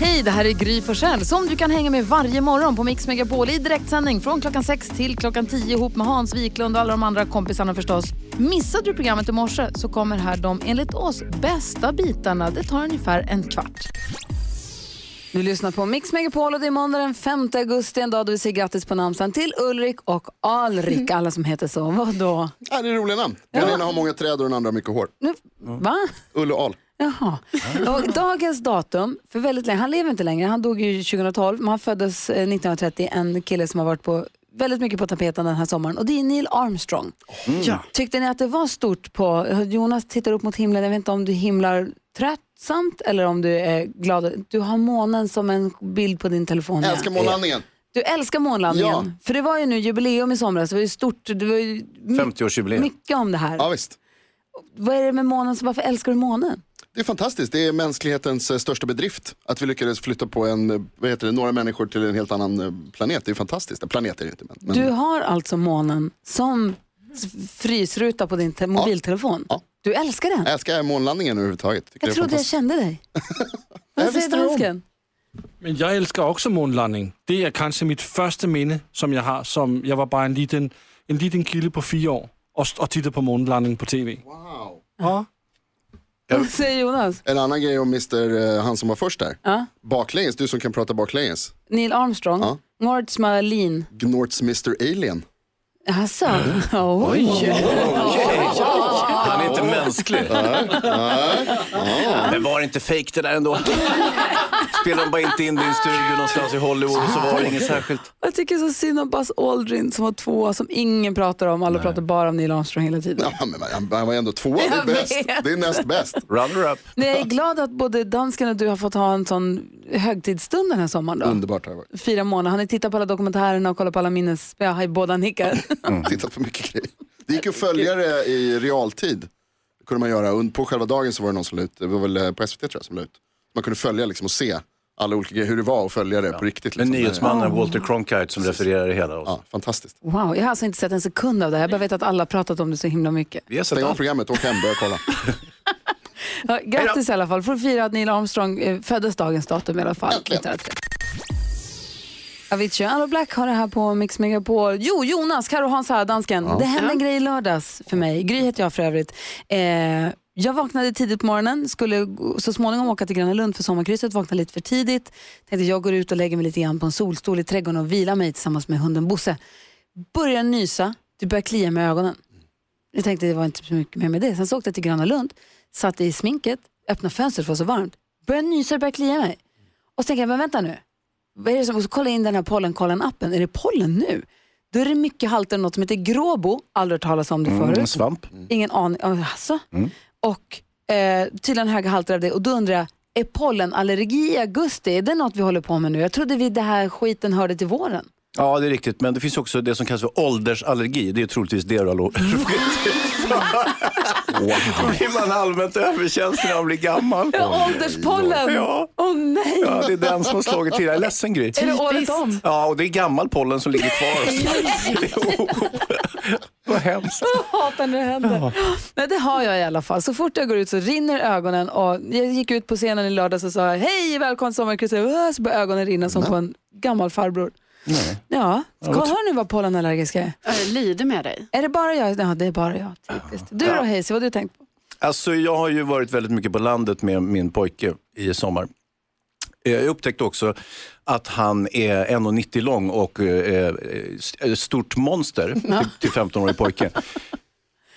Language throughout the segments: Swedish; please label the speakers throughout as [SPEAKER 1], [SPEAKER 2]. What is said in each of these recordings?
[SPEAKER 1] Hej, det här är Gry Forssell som du kan hänga med varje morgon på Mix Megapol i direktsändning från klockan 6 till klockan 10 ihop med Hans Wiklund och alla de andra kompisarna förstås. Missade du programmet i morse så kommer här de enligt oss bästa bitarna. Det tar ungefär en kvart. Du lyssnar på Mix Megapol och det är måndag den 5 augusti, en dag då vi säger grattis på namnsdagen till Ulrik och Alrik, alla som heter så. Vadå?
[SPEAKER 2] Ja, det är roliga namn. Den ena har många träd och den andra har mycket hår.
[SPEAKER 1] Nu, va?
[SPEAKER 2] Ulle och Al.
[SPEAKER 1] Jaha. Och dagens datum, för väldigt länge, han lever inte längre, han dog ju 2012, men han föddes eh, 1930, en kille som har varit på väldigt mycket på tapeten den här sommaren och det är Neil Armstrong. Tyckte ni att det var stort på, Jonas tittar upp mot himlen, jag vet inte om du himlar tröttsamt eller om du är glad. Du har månen som en bild på din telefon.
[SPEAKER 2] Jag
[SPEAKER 1] ja.
[SPEAKER 2] älskar månlandningen.
[SPEAKER 1] Du älskar månlandningen.
[SPEAKER 2] Ja.
[SPEAKER 1] För det var ju nu jubileum i somras, det var ju stort, det var ju my-
[SPEAKER 3] 50-årsjubileum.
[SPEAKER 1] mycket om det här.
[SPEAKER 2] Ja, visst.
[SPEAKER 1] Vad är det med månen, som- varför älskar du månen?
[SPEAKER 2] Det är fantastiskt. Det är mänsklighetens eh, största bedrift. Att vi lyckades flytta på en, eh, vad heter det, några människor till en helt annan eh, planet. Det är fantastiskt. En planet är det inte, men, men
[SPEAKER 1] Du har alltså månen som s- frysruta på din te- mobiltelefon.
[SPEAKER 2] Ja.
[SPEAKER 1] Du älskar den.
[SPEAKER 2] jag älskar månlandningen överhuvudtaget. Tycker
[SPEAKER 1] Jag
[SPEAKER 2] det är
[SPEAKER 1] trodde jag
[SPEAKER 2] fantastiskt.
[SPEAKER 1] kände dig.
[SPEAKER 2] Jag
[SPEAKER 1] Vad säger
[SPEAKER 2] visste det om.
[SPEAKER 1] dansken?
[SPEAKER 4] Men jag älskar också månlandning. Det är kanske mitt första minne som jag har som jag var bara en liten, en liten kille på fyra år och, st- och tittade på månlandning på tv.
[SPEAKER 2] Wow.
[SPEAKER 4] Ja.
[SPEAKER 1] Vad säger Jonas?
[SPEAKER 2] En annan grej om Mr. eh, han som var först där.
[SPEAKER 1] Ja.
[SPEAKER 2] Baklänges, du som kan prata baklänges.
[SPEAKER 1] Neil Armstrong,
[SPEAKER 2] Ja.
[SPEAKER 1] Mords Malin.
[SPEAKER 2] Gnorts Mr. Alien.
[SPEAKER 1] Alltså, oj.
[SPEAKER 3] Han är inte mänsklig. Men var det inte fake det där ändå? Spelade de bara inte in det i en studio någonstans i Hollywood och så var det inget särskilt.
[SPEAKER 1] Jag tycker så synd om Buzz Aldrin som var två som ingen pratar om. Alla pratar bara om Neil Armstrong hela tiden.
[SPEAKER 2] Ja, men han, han var ändå tvåa, det
[SPEAKER 1] Jag
[SPEAKER 2] är bäst.
[SPEAKER 1] vet.
[SPEAKER 2] Det är näst bäst.
[SPEAKER 3] Runner up.
[SPEAKER 1] Men jag är glad att både dansken och du har fått ha en sån högtidsstund den här sommaren. Då.
[SPEAKER 2] Underbart har det varit.
[SPEAKER 1] Fyra månader. Har ni tittat på alla dokumentärerna och kollat på alla minnes... Ja, hej, båda nickar.
[SPEAKER 2] Tittat på mycket grejer. Det gick ju att följa det i realtid. Det kunde man göra. Und- På själva dagen så var det någon som la ut, det var väl eh, på SVT tror jag som la ut. Man kunde följa liksom och se alla olika grejer, hur det var och följa det på riktigt.
[SPEAKER 3] Men
[SPEAKER 2] Liksom.
[SPEAKER 3] nyhetsmannen Walter Cronkite som refererar det hela. Och
[SPEAKER 2] Ja, fantastiskt.
[SPEAKER 1] Wow, jag har alltså inte sett en sekund av det här. Jag bara vet att alla har pratat om det så himla mycket.
[SPEAKER 3] vi har sett
[SPEAKER 2] Stäng av
[SPEAKER 3] allt.
[SPEAKER 2] programmet, åk hem, börja kolla.
[SPEAKER 1] Ja, grattis i alla fall. Får fira att Neil Armstrong eh, föddes dagens datum i alla fall.
[SPEAKER 2] Äntligen.
[SPEAKER 1] 1903. Avicii och Allo Black har det här på Mix Megapol. Jo, Jonas, Karo Hans här, dansken. Det hände en grej i lördags för mig. Gry heter jag för övrigt. Eh, jag vaknade tidigt på morgonen, skulle gå- så småningom åka till Gröna Lund för sommarkrysset, vaknade lite för tidigt. Tänkte jag går ut och lägger mig lite grann på en solstol i trädgården och vilar mig tillsammans med hunden Bosse. Börjar nysa, det börjar klia mig i ögonen. Jag tänkte det var inte så mycket mer med det. Sen så åkte jag till Gröna Lund, satt i sminket, öppnade fönstret för det var så varmt. Började nysa och började klia mig. Och så tänkte jag, men vänta nu. Vad är det som, och så kollade jag in den här pollenkollen-appen. Är det pollen nu? Då är det mycket halter av något som heter gråbo. Aldrig hört talas om det förut.
[SPEAKER 3] Mm, svamp. Mm.
[SPEAKER 1] Ingen aning. Ja, Alltså. Och eh, tydligen höga halter av det. Och då undrar jag, är pollenallergi i augusti, är det något vi håller på med nu? Jag trodde vi det här skiten hörde till våren.
[SPEAKER 3] Ja, det är riktigt. Men det finns också det som kallas för åldersallergi. Det är troligtvis det du har råkat ut för. Då blir man allmänt överkänslig när man blir gammal.
[SPEAKER 1] Ja, ålderspollen!
[SPEAKER 3] Ja.
[SPEAKER 1] Åh nej!
[SPEAKER 3] Ja, det är den som har slagit till. Jag är ledsen Gry.
[SPEAKER 1] Är det året om?
[SPEAKER 3] Ja, och det är gammal pollen som ligger kvar. Jo. Vad hemskt.
[SPEAKER 1] Jag hatar när det händer. Nej, det har jag i alla fall. Så fort jag går ut så rinner ögonen. Och jag gick ut på scenen i lördags och sa hej, välkommen till sommarkrysset. Äh, Så började ögonen rinna som på en gammal farbror. Ja, Kom, hör nu vad pollenallergisk är.
[SPEAKER 5] Jag Äh, lider med dig.
[SPEAKER 1] Är det bara jag? Ja, det är bara jag. Typiskt. Du då Hayes, vad har du tänkt på?
[SPEAKER 3] Alltså, jag har ju varit väldigt mycket på landet med min pojke i sommar. Eh, Jag upptäckte också att han är 1,90 lång och eh, eh, st- stort monster till, till 15-årig pojke.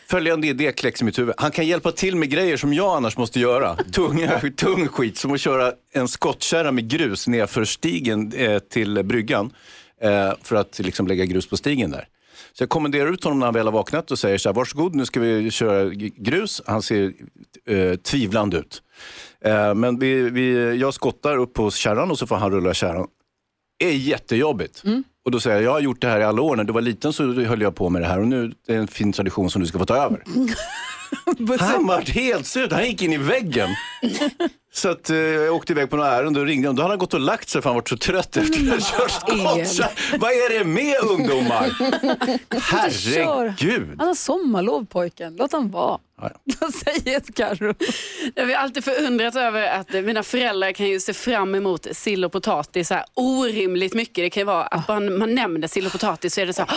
[SPEAKER 3] Följande idé kläcks i mitt huvud. Han kan hjälpa till med grejer som jag annars måste göra. Tunga, tung skit, som att köra en skottkärra med grus nerför stigen eh, till bryggan eh, för att liksom lägga grus på stigen där. Så jag kommenderar ut honom när han väl har vaknat och säger så här, varsågod nu ska vi köra g- grus. Han ser eh, tvivlande ut. Eh, men vi, vi, jag skottar upp på kärran och så får han rulla kärran. Det är jättejobbigt. Och då säger jag, jag har gjort det här i alla år. När du var liten så höll jag på med det här och nu är det en fin tradition som du ska få ta över. Han var helt slut, han gick in i väggen. Så att, eh, jag åkte iväg på några ärende och ringde honom. Då hade han gått och lagt sig för han var så trött efter att ha kört
[SPEAKER 1] El.
[SPEAKER 3] gott. Så här, Vad är det med ungdomar?
[SPEAKER 1] Kör.
[SPEAKER 3] Herregud.
[SPEAKER 1] Han har sommarlov pojken, låt han vara.
[SPEAKER 3] Ja, ja.
[SPEAKER 1] Vad säger Carro?
[SPEAKER 5] Jag har alltid förundrat över att eh, mina föräldrar kan ju se fram emot sill och potatis så här orimligt mycket. Det kan ju vara att man, man nämner sill och potatis så är det så här,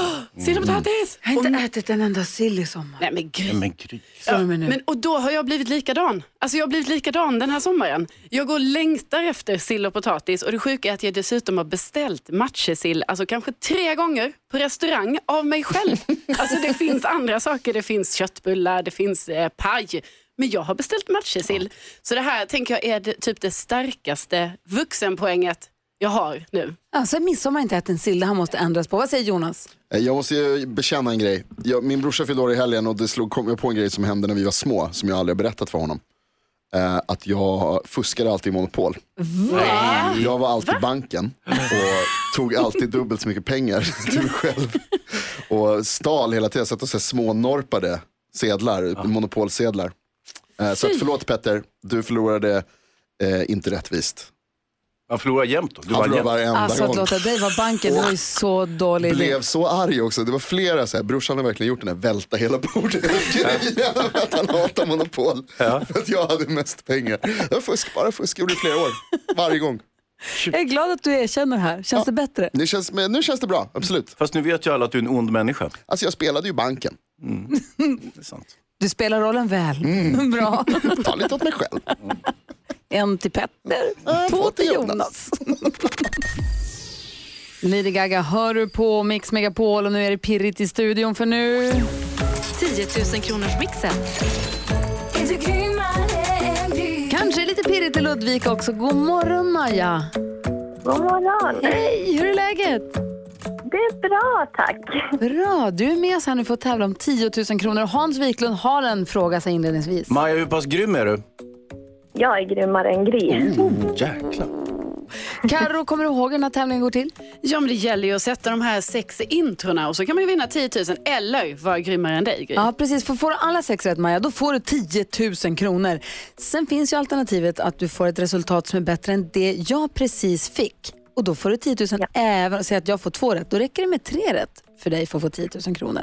[SPEAKER 5] "Åh, sill och potatis!
[SPEAKER 1] Jag har inte ätit en enda sill i sommar.
[SPEAKER 5] Nej men gud.
[SPEAKER 3] Men gris.
[SPEAKER 1] Sorry mig nu.
[SPEAKER 5] Men, och då har jag blivit likadan. Alltså jag har blivit likadan den här sommaren. Jag går och längtar efter sill och potatis och det sjuka är att jag dessutom har beställt matjessill, alltså kanske tre gånger på restaurang av mig själv. Alltså det finns andra saker, det finns köttbullar, det finns eh, paj. Men jag har beställt matjessill. Så det här tänker jag är det, typ det starkaste vuxenpoänget jag har nu.
[SPEAKER 1] Alltså midsommar har inte ätit en sill, det här måste ändras på. Vad säger Jonas?
[SPEAKER 2] Eh, Jag måste ju bekänna en grej. Jag, min brorsa fyllde år i helgen och det slog, kom jag på en grej som hände när vi var små, som jag aldrig har berättat för honom. Eh, att jag fuskade alltid i Monopol. Jag var alltid banken och tog alltid dubbelt så mycket pengar till mig själv. Och stal hela tiden, satt och så här smånorpade sedlar, monopolsedlar. Eh, Så att, förlåt Petter, du förlorade eh, inte rättvist.
[SPEAKER 3] Han förlorar jämt då. Du
[SPEAKER 2] Han
[SPEAKER 3] vann
[SPEAKER 2] förlorade
[SPEAKER 3] jämt.
[SPEAKER 2] varenda
[SPEAKER 1] Alltså att
[SPEAKER 2] gång.
[SPEAKER 1] låta dig vara banken, det var ju så dålig idé.
[SPEAKER 2] blev så arg också. Det var flera så här, brorsan har verkligen gjort den här välta hela bordet grejen. att han hatar monopol. För att jag hade mest pengar. Det var fusk, bara fusk. Gjorde det i flera år. Varje gång.
[SPEAKER 1] Jag är glad att du erkänner det här. Känns det bättre?
[SPEAKER 2] Nu känns, men nu känns det bra, absolut.
[SPEAKER 3] Fast nu vet ju alla att du är en ond människa.
[SPEAKER 2] Alltså jag spelade ju banken.
[SPEAKER 3] Det är sant.
[SPEAKER 1] Du spelar rollen väl. Bra.
[SPEAKER 2] Ta lite åt mig själv.
[SPEAKER 1] En till Petter,
[SPEAKER 2] Ja,
[SPEAKER 1] två till Jonas. Lady Gaga hör du på Mix Megapol och nu är det pirrigt i studion för nu.
[SPEAKER 6] 10 000 kronors mixen.
[SPEAKER 1] Kanske lite pirrigt i Ludvika också. God morgon Maja.
[SPEAKER 7] God morgon!
[SPEAKER 1] Hej, hur är läget?
[SPEAKER 7] Det är bra, tack.
[SPEAKER 1] Bra, du är med oss här nu för att tävla om 10 000 kronor. Hans Wiklund har en fråga sig inledningsvis.
[SPEAKER 3] Maja, hur pass grym är du?
[SPEAKER 7] Jag är grymmare än Gry.
[SPEAKER 3] Oh, Jäklar.
[SPEAKER 1] Karo, kommer du ihåg hur den här tävlingen går till?
[SPEAKER 5] Ja men det gäller ju att sätta de här sex introna och så kan man ju vinna 10 000 eller vara grymmare än dig Gry.
[SPEAKER 1] Ja, precis. För får du alla sex rätt, Maja, då får du 10 000 kronor. Sen finns ju alternativet att du får ett resultat som är bättre än det jag precis fick. Och då får du 10 000 även om säg att jag får två rätt. Då räcker det med tre rätt för dig för att få 10 000 kronor.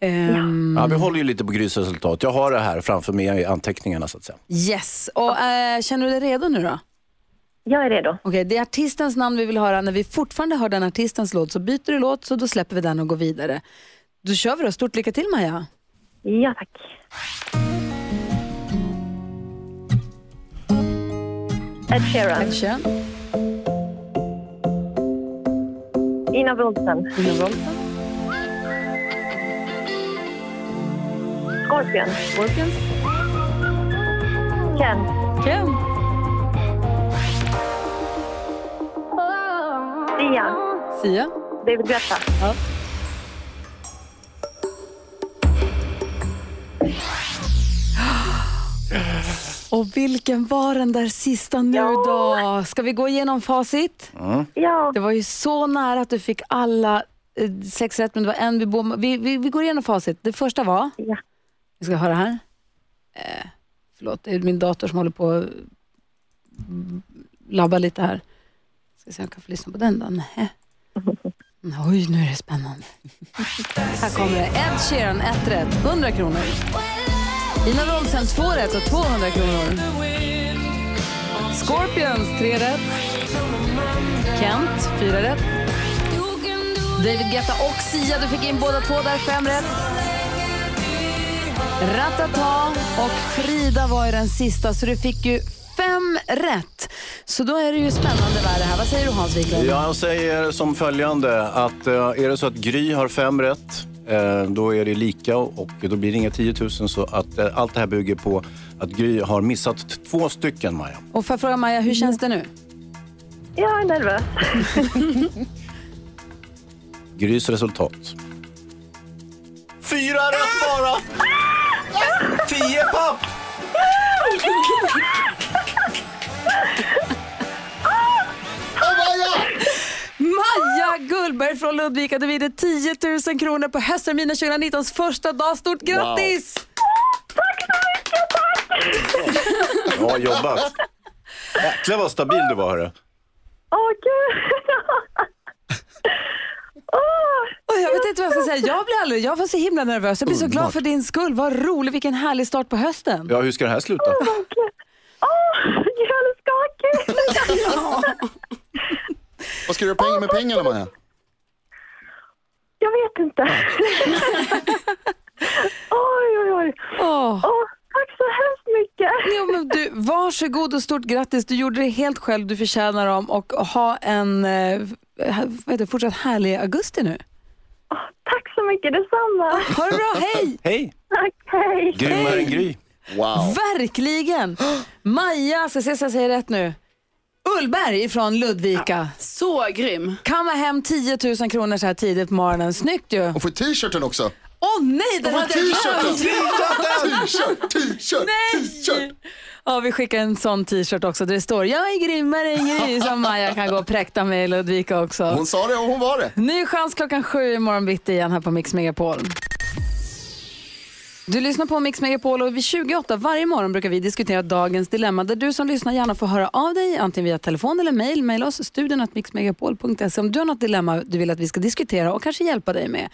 [SPEAKER 1] Ehm,
[SPEAKER 3] Ja, vi håller ju lite på Grys resultat. Jag har det här framför mig i anteckningarna så att säga.
[SPEAKER 1] yes. Och eh, känner du dig redo nu då?
[SPEAKER 7] Jag är redo.
[SPEAKER 1] Okej, det är artistens namn vi vill höra. När vi fortfarande hör den artistens låt så byter du låt så då släpper vi den och går vidare. Då kör vi då. Stort lycka till Maja.
[SPEAKER 7] Ja, tack. Ed Sheeran,
[SPEAKER 1] Kör.
[SPEAKER 7] Ina Wolfsen, Scorpion,
[SPEAKER 1] Scorpions.
[SPEAKER 7] Ken,
[SPEAKER 1] Ken.
[SPEAKER 7] Sia,
[SPEAKER 1] Sia.
[SPEAKER 7] David Guetta.
[SPEAKER 1] Och vilken var den där sista nu då? Ska vi gå igenom facit?
[SPEAKER 7] Ja,
[SPEAKER 1] Det var ju så nära att du fick alla eh, sex rätt, men det var en vi bom- vi, vi, vi går igenom facit. Det första var,
[SPEAKER 7] ja.
[SPEAKER 1] vi ska höra här. Eh, förlåt, det är min dator som håller på att mm, labba lite här. Ska se om jag kan få lyssna på den då. Nähä. Mm, Oj, nu är det spännande. Här kommer det. Ed Sheeran, ett rätt, 100 kronor. Ina Rolfsen, två rätt och 200 kronor. Scorpions, tre rätt. Kent, fyra rätt. David Guetta och Sia, du fick in båda två där, fem rätt. Ratata och Frida var ju den sista, så du fick ju fem rätt. Så då är det ju spännande värre här. Vad säger du Hans Wiklund?
[SPEAKER 3] Jag säger som följande att eh, är det så att Gry har fem rätt eh, då är det lika och då blir det inga 10 000 så att eh, allt det här bygger på att Gry har missat t- två stycken Maja.
[SPEAKER 1] Och får jag fråga Maja, hur känns det nu?
[SPEAKER 7] Jag är nervös.
[SPEAKER 3] Grys resultat. Fyra rätt bara! Tio papp!
[SPEAKER 2] Åh Maja!
[SPEAKER 1] Maja Gullberg från från Ludvika du vinner 10 000 kronor på höstterminen 2019s första dag. Stort grattis!
[SPEAKER 3] Bra jobbat. Jäklar vad stabil du var hörru.
[SPEAKER 7] Åh, gud! Åh,
[SPEAKER 1] Och jag vet inte vad jag ska säga. Jag blir aldrig, jag var så himla nervös. Jag blir så glad för din skull. Vad roligt, vilken härlig start på hösten.
[SPEAKER 3] Ja, hur ska det här sluta?
[SPEAKER 7] åh, jag är alldeles skakig.
[SPEAKER 2] Vad ska du göra pengar med pengarna Maja?
[SPEAKER 7] Jag vet inte. oj, oj, oj.
[SPEAKER 1] Åh.
[SPEAKER 7] Åh, tack så hemskt mycket.
[SPEAKER 1] Ja, men du, varsågod och stort grattis. Du gjorde det helt själv. Du förtjänar dem. Och ha en eh, vad heter det, fortsatt härlig augusti nu.
[SPEAKER 7] Tack så mycket, detsamma.
[SPEAKER 1] Ha det bra, hej!
[SPEAKER 3] Hej!
[SPEAKER 7] Tack, hej.
[SPEAKER 3] Grymmare än Gry.
[SPEAKER 2] Wow.
[SPEAKER 1] Verkligen! Maja, ska se så jag säger rätt nu. Ullberg från Ludvika.
[SPEAKER 5] Så grym.
[SPEAKER 1] Kamma hem 10 000 kronor så här tidigt på morgonen. Snyggt ju. Åh
[SPEAKER 2] Hon får t-shirten också.
[SPEAKER 1] nej, den
[SPEAKER 2] Hon
[SPEAKER 1] hade
[SPEAKER 2] får
[SPEAKER 1] jag
[SPEAKER 2] t-shirten!
[SPEAKER 1] glömt!
[SPEAKER 2] T-shirt, t-shirt, t-shirt.
[SPEAKER 1] Ja, vi skickar en sån t-shirt också där det står “Jag är grymmare än Gry” som Maja kan gå och präkta med i Ludvika också.
[SPEAKER 2] Hon sa det och hon var det.
[SPEAKER 1] Ny chans klockan sju imorgon bitti igen här på Mix Megapol. Du lyssnar på Mix Megapol och vid 28 varje morgon brukar vi diskutera dagens dilemma där du som lyssnar gärna får höra av dig antingen via telefon eller mail. Maila oss studion mixmegapol.se om du har något dilemma du vill att vi ska diskutera och kanske hjälpa dig med.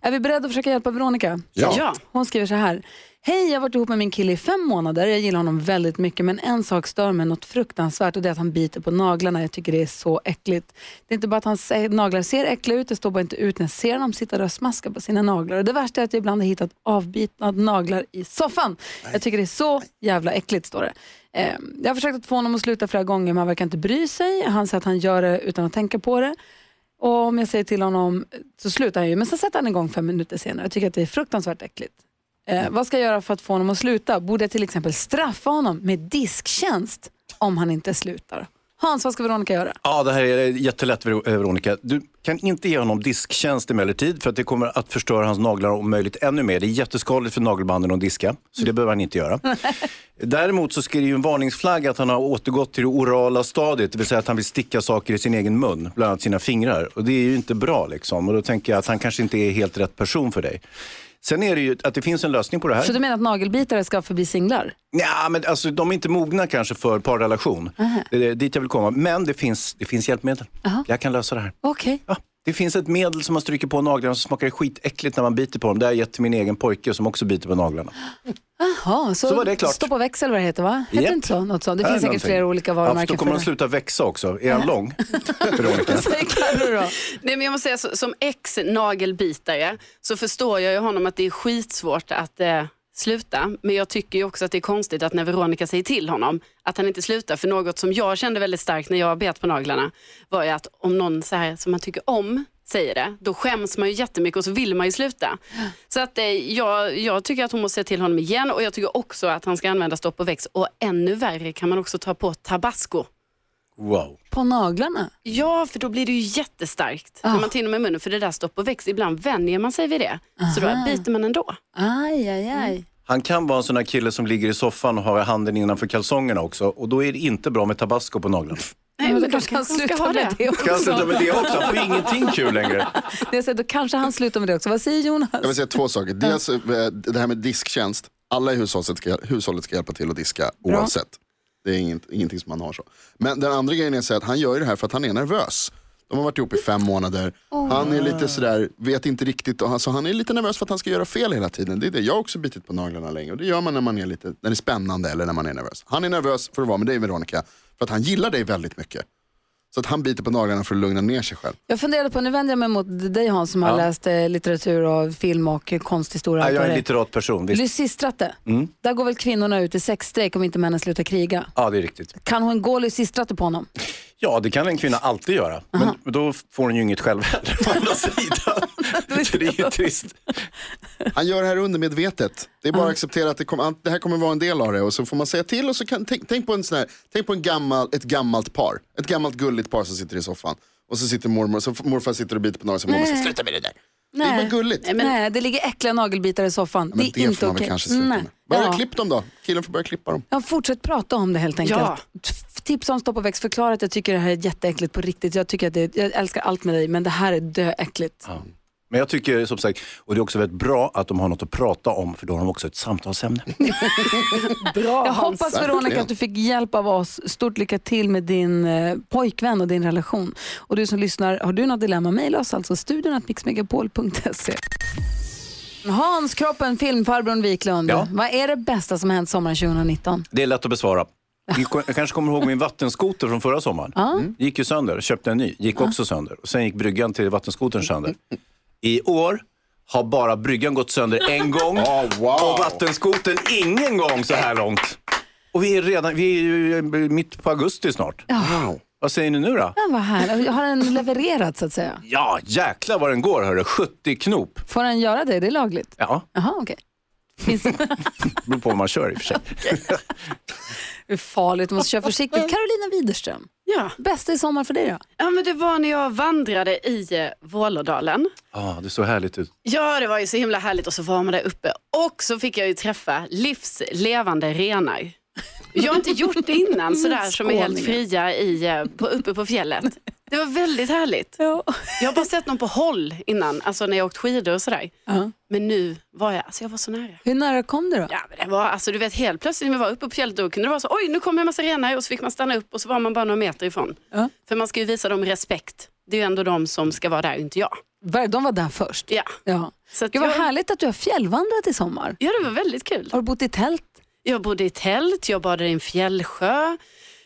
[SPEAKER 1] Är vi beredda att försöka hjälpa Veronica?
[SPEAKER 2] Ja.
[SPEAKER 5] Ja.
[SPEAKER 1] Hon skriver så här. Hej, jag har varit ihop med min kille i fem månader. Jag gillar honom väldigt mycket men en sak stör mig något fruktansvärt och det är att han biter på naglarna. Jag tycker det är så äckligt. Det är inte bara att hans eh, naglar ser äckliga ut, det står bara inte ut när jag ser honom sitta där och smaska på sina naglar. Och det värsta är att jag ibland har hittat avbitna naglar i soffan. Jag tycker det är så jävla äckligt, står det. Eh, Jag har försökt att få honom att sluta flera gånger men han verkar inte bry sig. Han säger att han gör det utan att tänka på det. Och om jag säger till honom så slutar han ju, men sen sätter han igång fem minuter senare. Jag tycker att det är fruktansvärt äckligt. Eh, vad ska jag göra för att få honom att sluta? Borde jag till exempel straffa honom med disktjänst om han inte slutar? Hans, vad ska Veronica göra?
[SPEAKER 3] Ja, det här är jättelätt Ver- eh, Veronica. Du kan inte ge honom disktjänst emellertid för att det kommer att förstöra hans naglar om möjligt ännu mer. Det är jätteskadligt för nagelbanden att diska, så det behöver han inte göra. Däremot så ska det ju en varningsflagg att han har återgått till det orala stadiet, det vill säga att han vill sticka saker i sin egen mun, bland annat sina fingrar. Och det är ju inte bra liksom. Och då tänker jag att han kanske inte är helt rätt person för dig. Sen är det ju att det finns en lösning på det här.
[SPEAKER 1] Så du menar att nagelbitare ska förbi singlar?
[SPEAKER 3] Ja, men alltså, de är inte mogna kanske för parrelation. Det är dit jag vill komma. Men det finns, det finns hjälpmedel. Jag kan lösa det här.
[SPEAKER 1] Okej.
[SPEAKER 3] Ja, det finns ett medel som man stryker på naglarna som smakar skitäckligt när man biter på dem. Det har jag gett till min egen pojke som också biter på naglarna.
[SPEAKER 1] Jaha, så,
[SPEAKER 3] Så var det klart.
[SPEAKER 1] stoppa växel vad det heter va? Heter
[SPEAKER 3] Japp.
[SPEAKER 1] det inte så? Något sånt. Det
[SPEAKER 3] Här är
[SPEAKER 1] finns säkert
[SPEAKER 3] någonting.
[SPEAKER 1] flera olika
[SPEAKER 3] Ja, för
[SPEAKER 1] varumärken
[SPEAKER 3] då kommer de
[SPEAKER 1] för det.
[SPEAKER 3] sluta växa också. Är han lång, Veronica?
[SPEAKER 1] Säg Carro då.
[SPEAKER 5] Nej, men jag måste säga, så- som ex-nagelbitare så förstår jag ju honom att det är skitsvårt att eh, sluta. Men jag tycker ju också att det är konstigt att när Veronica säger till honom att han inte slutar. För något som jag kände väldigt starkt när jag bet på naglarna var ju att om någon så här som man tycker om säger det, då skäms man ju jättemycket och så vill man ju sluta. Så att eh, jag, jag tycker att hon måste säga till honom igen och jag tycker också att han ska använda stopp och väx. Och ännu värre kan man också ta på tabasco.
[SPEAKER 3] Wow.
[SPEAKER 1] På naglarna?
[SPEAKER 5] Ja, för då blir det ju jättestarkt när man tar in dem i munnen. För det där stopp och väx, ibland vänjer man sig vid det. Så då biter man ändå.
[SPEAKER 1] Aj,
[SPEAKER 5] Mm.
[SPEAKER 1] aj, aj.
[SPEAKER 3] Han kan vara en sån här kille som ligger i soffan och har handen innanför kalsongerna också. Och då är det inte bra med tabasco på naglarna.
[SPEAKER 5] Nej, men då
[SPEAKER 1] kanske
[SPEAKER 5] kanske
[SPEAKER 1] han
[SPEAKER 5] han ska
[SPEAKER 1] slutar
[SPEAKER 5] ha
[SPEAKER 1] med
[SPEAKER 5] det.
[SPEAKER 1] det
[SPEAKER 3] Kan jag sluta
[SPEAKER 1] också.
[SPEAKER 3] med det också? Han får ju ingenting kul längre.
[SPEAKER 1] Det jag säger, då kanske han slutar med det också. Vad säger Jonas?
[SPEAKER 2] Jag vill säga två saker. Dels eh, det här med disktjänst. Alla i hushållet ska, hushållet ska hjälpa till att diska oavsett. Det är inget, ingenting som man har så. Men den andra grejen är så här att han gör ju det här för att han är nervös. De har varit ihop i fem månader. Han är lite sådär, vet inte riktigt. Och han, så han är lite nervös för att han ska göra fel hela tiden. Det är det. Jag har också bitit på naglarna länge. Och det gör man när man är lite, när det är spännande eller när man är nervös. Han är nervös för att vara med dig Veronica. För att han gillar dig väldigt mycket. Så att han biter på naglarna för att lugna ner sig själv.
[SPEAKER 1] Jag funderade på, nu vänder jag mig mot dig Hans som har
[SPEAKER 3] Ja.
[SPEAKER 1] läst eh, litteratur och film och eh, konsthistoria.
[SPEAKER 3] Ja,
[SPEAKER 1] allt
[SPEAKER 3] jag
[SPEAKER 1] vad
[SPEAKER 3] är
[SPEAKER 1] det
[SPEAKER 3] en
[SPEAKER 1] är.
[SPEAKER 3] litterat person, visst.
[SPEAKER 1] Lysistrate,
[SPEAKER 2] Mm.
[SPEAKER 1] där går väl kvinnorna ut i sexstrejk om inte männen slutar kriga.
[SPEAKER 3] Ja, det är riktigt.
[SPEAKER 1] Kan hon gå Lysistrate på honom?
[SPEAKER 3] Ja, det kan en kvinna alltid göra. Men då får hon ju inget själv heller, å andra sidan. Så det är ju trist.
[SPEAKER 2] Han gör det här undermedvetet. Det är bara att acceptera att det, kom, att det här kommer vara en del av det och så får man säga till och så kan, tänk, tänk på, en sån här, tänk på en gammal, ett gammalt par. Ett gammalt gulligt par som sitter i soffan. Och så sitter mormor, så f- morfar sitter och biter på nageln så mormor säger sluta med det där. Det är bara gulligt.
[SPEAKER 1] Nej, det ligger äckliga nagelbitar i soffan.
[SPEAKER 2] Men
[SPEAKER 1] det är
[SPEAKER 2] det får
[SPEAKER 1] inte
[SPEAKER 2] man väl
[SPEAKER 1] okej.
[SPEAKER 2] kanske sluta med. Börja
[SPEAKER 1] Ja.
[SPEAKER 2] klipp dem då. Killen får börja klippa dem.
[SPEAKER 1] Ja, fortsätt prata om det helt enkelt.
[SPEAKER 5] Ja.
[SPEAKER 1] T- tipsa om Stopp och väx, förklara att jag tycker det här är jätteäckligt på riktigt. Jag, tycker att det, jag älskar allt med dig men det här är döäckligt.
[SPEAKER 3] Ja. Men jag tycker som sagt, och det är också väldigt bra att de har något att prata om för då har de också ett samtalsämne.
[SPEAKER 5] Bra
[SPEAKER 1] Jag
[SPEAKER 5] Hans.
[SPEAKER 1] hoppas Veronica
[SPEAKER 2] verkligen.
[SPEAKER 1] att du fick hjälp av oss. Stort lycka till med din eh, pojkvän och din relation. Och du som lyssnar, har du något dilemma, mejla oss alltså studion att mixmegapol.se. Hans Kroppen, filmfarbrorn Wiklund.
[SPEAKER 3] Ja.
[SPEAKER 1] Vad är det bästa som har hänt sommaren 2019?
[SPEAKER 3] Det är lätt att besvara. Ni ko- Jag kanske kommer ihåg min vattenskoter från förra sommaren. Gick ju sönder, köpte en ny, gick också sönder. Och sen gick bryggan till vattenskotern sönder. I år har bara bryggan gått sönder en gång
[SPEAKER 2] Ah, wow.
[SPEAKER 3] och vattenskotern ingen gång så här långt. Och vi är, redan, vi är ju eh, mitt på augusti snart.
[SPEAKER 2] Wow.
[SPEAKER 3] Vad säger ni nu då?
[SPEAKER 1] Den var här. Har den levererat så att säga?
[SPEAKER 3] Ja, jäklar vad den går hörru. 70 knop.
[SPEAKER 1] Får den göra det? Det är lagligt?
[SPEAKER 3] Ja,
[SPEAKER 1] Jaha, okej. Finns det
[SPEAKER 3] beror på vad man kör i och för sig.
[SPEAKER 1] Det är farligt? Du måste köra försiktigt. Carolina Widerström,
[SPEAKER 5] Ja.
[SPEAKER 1] bästa i sommar för dig då?
[SPEAKER 5] ja, men det var när jag vandrade i eh, Vålådalen.
[SPEAKER 3] Ja, det såg härligt ut.
[SPEAKER 5] Ja, det var ju så himla härligt och så var man där uppe och så fick jag ju träffa livslevande renar. Jag har inte gjort det innan sådär som är helt
[SPEAKER 1] Skåningar.
[SPEAKER 5] fria i, eh, på, uppe på fjället. Det var väldigt härligt.
[SPEAKER 1] Ja.
[SPEAKER 5] Jag har bara sett någon på håll innan, alltså när jag åkt skidor och sådär. Men nu var jag, alltså jag var så nära.
[SPEAKER 1] Hur nära kom du då?
[SPEAKER 5] Ja, men det var, alltså du vet helt plötsligt när vi var uppe på fjället då kunde det vara så, oj nu kommer en massa renar och så fick man stanna upp och så var man bara några meter ifrån.
[SPEAKER 1] Ja.
[SPEAKER 5] För man ska ju visa dem respekt. Det är ju ändå de som ska vara där, inte jag.
[SPEAKER 1] Var- De var där först.
[SPEAKER 5] Ja.
[SPEAKER 1] Ja.
[SPEAKER 5] Så att
[SPEAKER 1] Gud, vad
[SPEAKER 5] jag-
[SPEAKER 1] härligt att du har fjällvandrat i sommar.
[SPEAKER 5] Ja, det var väldigt kul.
[SPEAKER 1] Har du bott i tält?
[SPEAKER 5] Jag bodde i tält, jag badade i en fjällsjö.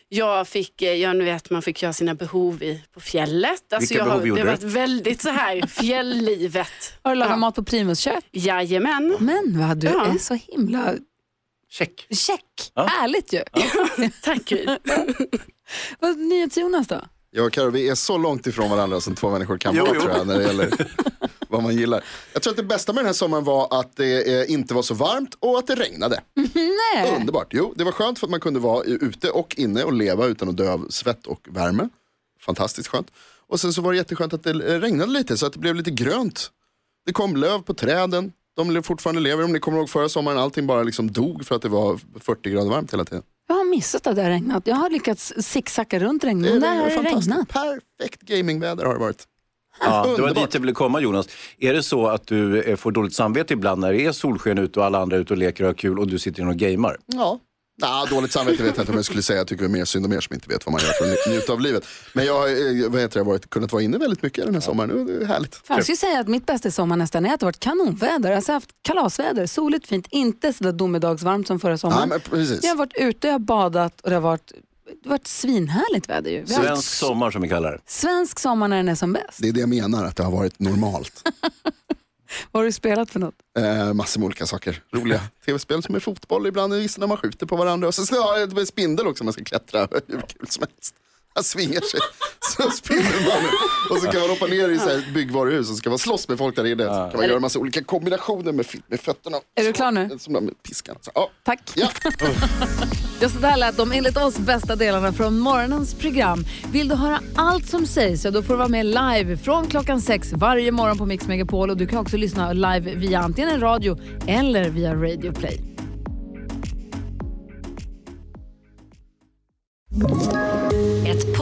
[SPEAKER 5] Jag fick, eh, jag nu vet, man fick göra sina behov i, på fjället. Alltså
[SPEAKER 3] Vilka
[SPEAKER 5] jag
[SPEAKER 3] behov
[SPEAKER 5] har,
[SPEAKER 3] gjorde
[SPEAKER 5] Det
[SPEAKER 3] du?
[SPEAKER 5] har varit väldigt så här, fjälllivet.
[SPEAKER 1] Har du lagat
[SPEAKER 5] Ja.
[SPEAKER 1] mat på Primus kök?
[SPEAKER 5] Jajamän.
[SPEAKER 1] Men vad du
[SPEAKER 5] Ja.
[SPEAKER 1] är så himla
[SPEAKER 3] Check.
[SPEAKER 1] check.
[SPEAKER 3] Ja.
[SPEAKER 1] Härligt ju.
[SPEAKER 5] Tack Gry.
[SPEAKER 1] Vad NyhetsJonas då?
[SPEAKER 2] Jag och Karo, vi är så långt ifrån varandra som två människor kan
[SPEAKER 3] Jo,
[SPEAKER 2] vara
[SPEAKER 3] jo.
[SPEAKER 2] tror jag, när det gäller vad man gillar. Jag tror att det bästa med den här sommaren var att det eh, inte var så varmt och att det regnade.
[SPEAKER 1] Nej.
[SPEAKER 2] Underbart. Jo, det var skönt för att man kunde vara i- ute och inne och leva utan att dö av svett och värme. Fantastiskt skönt. Och sen så var det jätteskönt att det eh, regnade lite så att det blev lite grönt. Det kom löv på träden. De le- fortfarande lever. Om ni kommer ihåg förra sommaren, allting bara liksom dog för att det var 40 grader varmt hela tiden.
[SPEAKER 1] Jag har missat att det har regnat. Jag har lyckats zigzacka runt regnet. Men där har det
[SPEAKER 2] fantastiskt.
[SPEAKER 1] regnat.
[SPEAKER 2] Perfekt gamingväder har det varit.
[SPEAKER 3] Ja, det var
[SPEAKER 2] Underbart.
[SPEAKER 3] dit jag ville komma Jonas. Är det så att du eh, får dåligt samvete ibland när det är solsken ute och alla andra är ute och leker och har kul och du sitter inne och gamer?
[SPEAKER 2] Ja. Nah, dåligt samvete vet jag inte om jag skulle säga. Jag tycker det är mer synd om er som inte vet vad man gör för att nj- njuta av livet. Men jag har eh, vad heter det, varit, kunnat vara inne väldigt mycket den här sommaren. och Det är härligt.
[SPEAKER 1] Fan, Jag skulle säga att mitt bästa i sommar nästan är att det har varit kanonväder. Alltså jag har haft kalasväder, soligt, fint, inte sådär domedagsvarmt som förra
[SPEAKER 2] Ja,
[SPEAKER 1] sommaren.
[SPEAKER 2] men precis.
[SPEAKER 1] jag har varit ute, jag har badat och det har varit, det har varit svinhärligt väder ju. Vi har haft
[SPEAKER 3] Svensk sommar som vi kallar det.
[SPEAKER 1] svensk sommar när den är som bäst.
[SPEAKER 2] Det är det jag menar, att det har varit normalt.
[SPEAKER 1] Vad har du spelat för något?
[SPEAKER 2] Eh, massor med olika saker. Roliga tv-spel som är fotboll ibland, och gissar när man skjuter på varandra. Och så har jag ett spindel också man ska klättra hur kul som helst. Han svingar sig, så spinner man. Och så kan man hoppa ner i så här ett byggvaruhus och så kan man slåss med folk där inne. Så kan man göra massa olika kombinationer med, fi- med fötterna.
[SPEAKER 1] Är du klar nu?
[SPEAKER 2] Som de med piskan. Så, ja.
[SPEAKER 1] Tack.
[SPEAKER 2] ja.
[SPEAKER 1] Just det här lät de enligt oss bästa delarna från morgonens program. Vill du höra allt som sägs så då får du vara med live från klockan sex varje morgon på Mix Megapol och du kan också lyssna live via antingen en radio eller via Radio Play.
[SPEAKER 8] Ett